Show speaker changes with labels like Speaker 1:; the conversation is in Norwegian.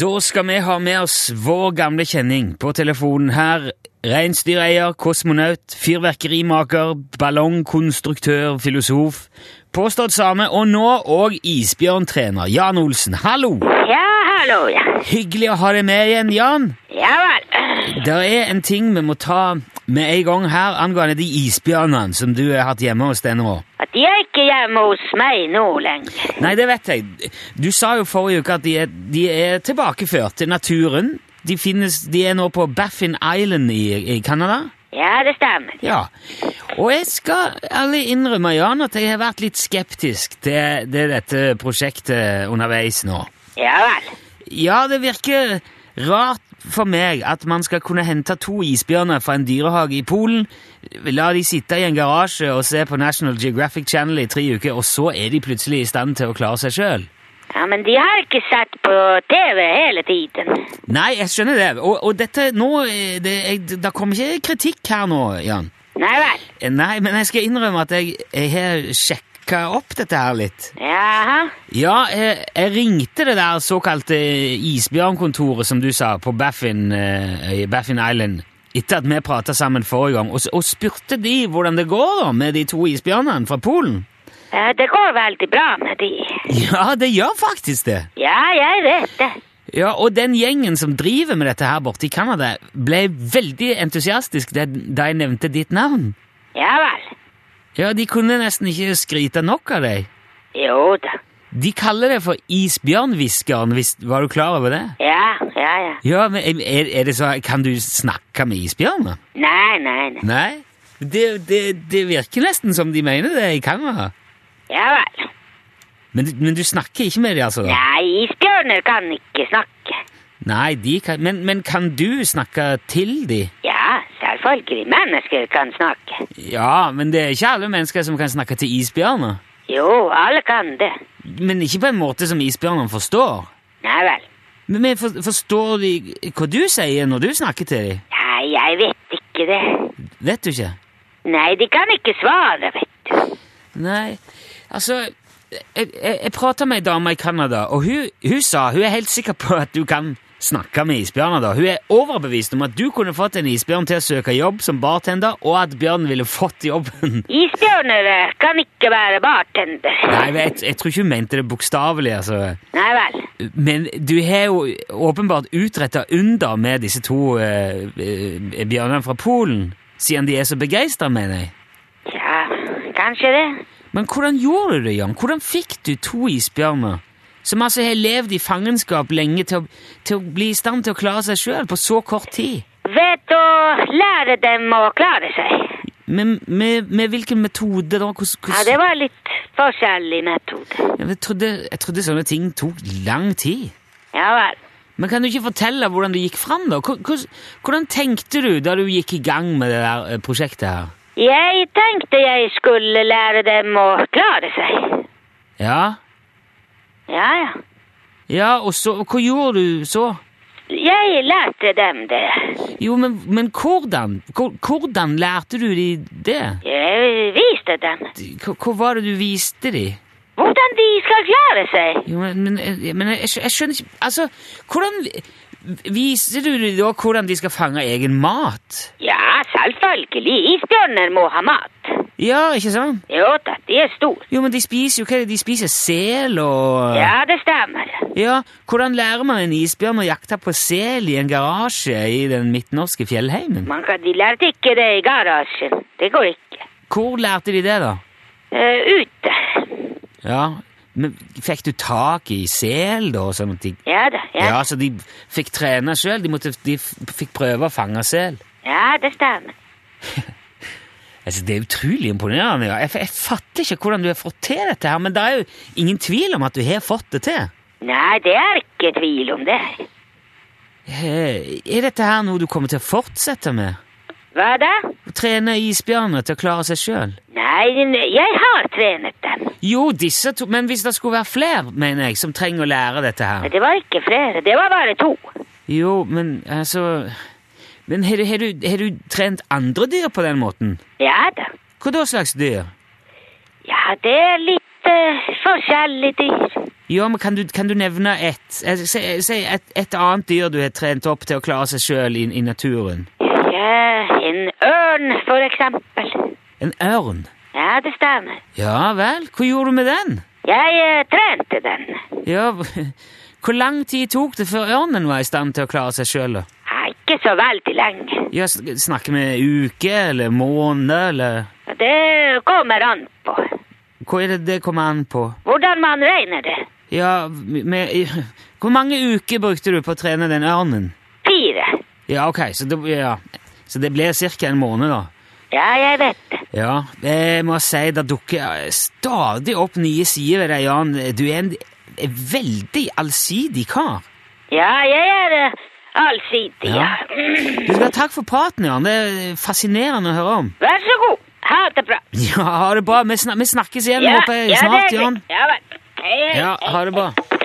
Speaker 1: Da skal vi ha med oss vår gamle kjenning på telefonen her. Reinsdyreier, kosmonaut, fyrverkerimaker, ballongkonstruktør, filosof. Påstått same, og nå òg isbjørntrener. Jan Olsen, hallo!
Speaker 2: Ja, hallo, ja.
Speaker 1: Hyggelig å ha deg med igjen, Jan.
Speaker 2: Ja vel.
Speaker 1: Det er en ting vi må ta med en gang her angående de isbjørnene som du har hatt hjemme hos deg nå.
Speaker 2: At de er ikke hjemme hos meg nå lenger.
Speaker 1: Nei, det vet jeg. Du sa jo forrige uke at de er, de er tilbakeført til naturen. De, finnes, de er nå på Baffin Island i, i Canada.
Speaker 2: Ja, det stemmer.
Speaker 1: Ja. Og jeg skal ærlig innrømme, Jan, at jeg har vært litt skeptisk til, til dette prosjektet underveis nå.
Speaker 2: Ja vel.
Speaker 1: Ja, det virker rart for meg at man skal kunne hente to isbjørner fra en dyrehage i Polen, la de sitte i en garasje og se på National Geographic Channel i tre uker, og så er de plutselig i stand til å klare seg sjøl.
Speaker 2: Ja, Men de har ikke sett på TV hele tiden.
Speaker 1: Nei, jeg skjønner det. Og, og dette nå eh, det, jeg, det kommer ikke kritikk her nå, Jan.
Speaker 2: Nei vel.
Speaker 1: Eh, Nei, men jeg skal innrømme at jeg, jeg har sjekka opp dette her litt.
Speaker 2: Jaha.
Speaker 1: Ja, jeg, jeg ringte det der såkalte isbjørnkontoret, som du sa, på Baffin, eh, i Baffin Island, etter at vi prata sammen forrige gang, og, s- og spurte de hvordan det går da med de to isbjørnene fra Polen.
Speaker 2: Ja, Det går veldig bra med de.
Speaker 1: Ja, det gjør faktisk det.
Speaker 2: Ja, jeg vet det.
Speaker 1: Ja, Og den gjengen som driver med dette her borte i Canada, ble veldig entusiastisk da da jeg nevnte ditt navn.
Speaker 2: Ja vel.
Speaker 1: Ja, De kunne nesten ikke skryte nok av deg.
Speaker 2: Jo da.
Speaker 1: De kaller det for isbjørnhviskeren, hvis- var du klar over det?
Speaker 2: Ja, ja, ja.
Speaker 1: Ja, men er, er det så, Kan du snakke med isbjørner?
Speaker 2: Nei, nei, nei.
Speaker 1: Nei, det, det, det virker nesten som de mener det i Canada.
Speaker 2: Ja vel.
Speaker 1: Men, men du snakker ikke med dem, altså? da?
Speaker 2: Nei, isbjørner kan ikke snakke.
Speaker 1: Nei, de kan, men, men kan du snakke til dem?
Speaker 2: Ja, selvfølgelig. Mennesker kan snakke.
Speaker 1: Ja, men det er ikke alle mennesker som kan snakke til isbjørner.
Speaker 2: Jo, alle kan det.
Speaker 1: Men ikke på en måte som isbjørnene forstår.
Speaker 2: Nei vel.
Speaker 1: Men, men for, forstår de hva du sier når du snakker til dem?
Speaker 2: Nei, jeg vet ikke det.
Speaker 1: Vet du ikke?
Speaker 2: Nei, de kan ikke svare, vet du.
Speaker 1: Nei, altså Jeg, jeg, jeg prata med ei dame i Canada, og hun, hun sa hun er helt sikker på at du kan snakke med isbjørner. da. Hun er overbevist om at du kunne fått en isbjørn til å søke jobb som bartender, og at bjørnen ville fått jobben.
Speaker 2: Isbjørner eh, kan ikke være bartender.
Speaker 1: Nei, men jeg, jeg tror ikke hun mente det bokstavelig, altså.
Speaker 2: Nei vel.
Speaker 1: Men du har jo åpenbart utretta under med disse to eh, eh, bjørnene fra Polen, siden de er så begeistra, mener jeg.
Speaker 2: Ja, kanskje det.
Speaker 1: Men hvordan gjorde du det, Jan? Hvordan fikk du to isbjørner, som altså har levd i fangenskap lenge, til å, til å bli i stand til å klare seg sjøl på så kort tid?
Speaker 2: Vet å lære dem å klare seg.
Speaker 1: Med, med, med hvilken metode, da? Hvordan,
Speaker 2: Ja, det var litt forskjellig metode.
Speaker 1: jeg, trodde, jeg trodde sånne ting tok lang tid.
Speaker 2: Ja vel.
Speaker 1: Men kan du ikke fortelle hvordan du gikk fram, da? Hvor- Hvordan, hvordan tenkte du da du gikk i gang med det der eh, prosjektet her?
Speaker 2: Jeg tenkte jeg skulle lære dem å klare seg.
Speaker 1: Ja,
Speaker 2: Ja, ja.
Speaker 1: ja, og så og Hva gjorde du så?
Speaker 2: Jeg lærte dem det.
Speaker 1: Jo, men, men hvordan? Hvor- Hvordan lærte du de det?
Speaker 2: Jeg viste dem
Speaker 1: hva, hva var det du viste dem?
Speaker 2: hvordan de skal klare seg.
Speaker 1: Jo, men, men, eh, men jeg, skj- jeg skjønner ikke Altså, hvordan vi- Viser du dem da hvordan de skal fange egen mat?
Speaker 2: Ja, selvfølgelig. Isbjørner må ha mat.
Speaker 1: Ja, ikke sant?
Speaker 2: Jo da, de er store.
Speaker 1: Jo, men de spiser jo hva er det? De spiser sel og
Speaker 2: Ja, det stemmer.
Speaker 1: Ja, Hvordan lærer man en isbjørn å jakte på sel i en garasje i den midtnorske fjellheimen?
Speaker 2: Man kan, de lærte ikke det i garasjen. Det går ikke.
Speaker 1: Hvor lærte de det, da?
Speaker 2: Eh, ute.
Speaker 1: Ja, men Fikk du tak i sel, da? og Sånn at de,
Speaker 2: Ja da, ja.
Speaker 1: ja, så de fikk trene sjøl? De, måtte- de f- fikk prøve å fange sel?
Speaker 2: Ja, det stemmer.
Speaker 1: Altså, det er utrolig imponerende. Ja. Jeg, jeg fatter ikke hvordan du har fått til dette, her, men det er jo ingen tvil om at du har fått det til.
Speaker 2: Nei, det er ikke tvil om det.
Speaker 1: Eh, Er dette her noe du kommer til å fortsette med?
Speaker 2: Hva da?
Speaker 1: Å trene isbjørner til å klare seg sjøl?
Speaker 2: Nei, n- jeg har trenet dem.
Speaker 1: Jo, disse to, men hvis det skulle være flere, mener jeg, som trenger å lære dette
Speaker 2: Men
Speaker 1: her
Speaker 2: det var ikke flere. Det var bare to.
Speaker 1: Jo, men altså Men har du, har du, har du trent andre dyr på den måten?
Speaker 2: Ja da.
Speaker 1: Hva da slags dyr?
Speaker 2: Ja, det er litt eh, forskjellige dyr.
Speaker 1: Ja, men kan du, kan du nevne ett? Eh, Si si et, et annet dyr du har trent opp til å klare seg sjøl i, i naturen.
Speaker 2: Ja, en ørn, for eksempel.
Speaker 1: En ørn.
Speaker 2: Ja, det stemmer.
Speaker 1: Ja vel, hva gjorde du med den?
Speaker 2: Jeg eh, trente den.
Speaker 1: Ja, Hvor lang tid tok det før ørnen var i stand til å klare seg sjøl?
Speaker 2: Ja, ikke så veldig lenge.
Speaker 1: Ja, sn- snakker vi uke eller måned eller
Speaker 2: Det kommer an på
Speaker 1: Hva er det det kommer an på?
Speaker 2: hvordan man regner det.
Speaker 1: Ja, med, Hvor mange uker brukte du på å trene den ørnen?
Speaker 2: Fire.
Speaker 1: Ja, ok, så det, ja. så det ble ca. en måned, da.
Speaker 2: Ja, jeg vet det.
Speaker 1: Ja, jeg må si det dukker stadig opp nye sider ved deg, Jan. Du er en en veldig allsidig kar.
Speaker 2: Ja, jeg er eh, allsidig, ja.
Speaker 1: Du skal ha takk for praten, Jan. Det er fascinerende å høre om.
Speaker 2: Vær så god. Ha det bra.
Speaker 1: Ja, ha det bra. Vi, snak vi snakkes igjen, håper jeg,
Speaker 2: det er
Speaker 1: snart,
Speaker 2: greit.
Speaker 1: Jan.
Speaker 2: Ja vel. Hei, hei,
Speaker 1: Ja,
Speaker 2: hei.
Speaker 1: ha det bra.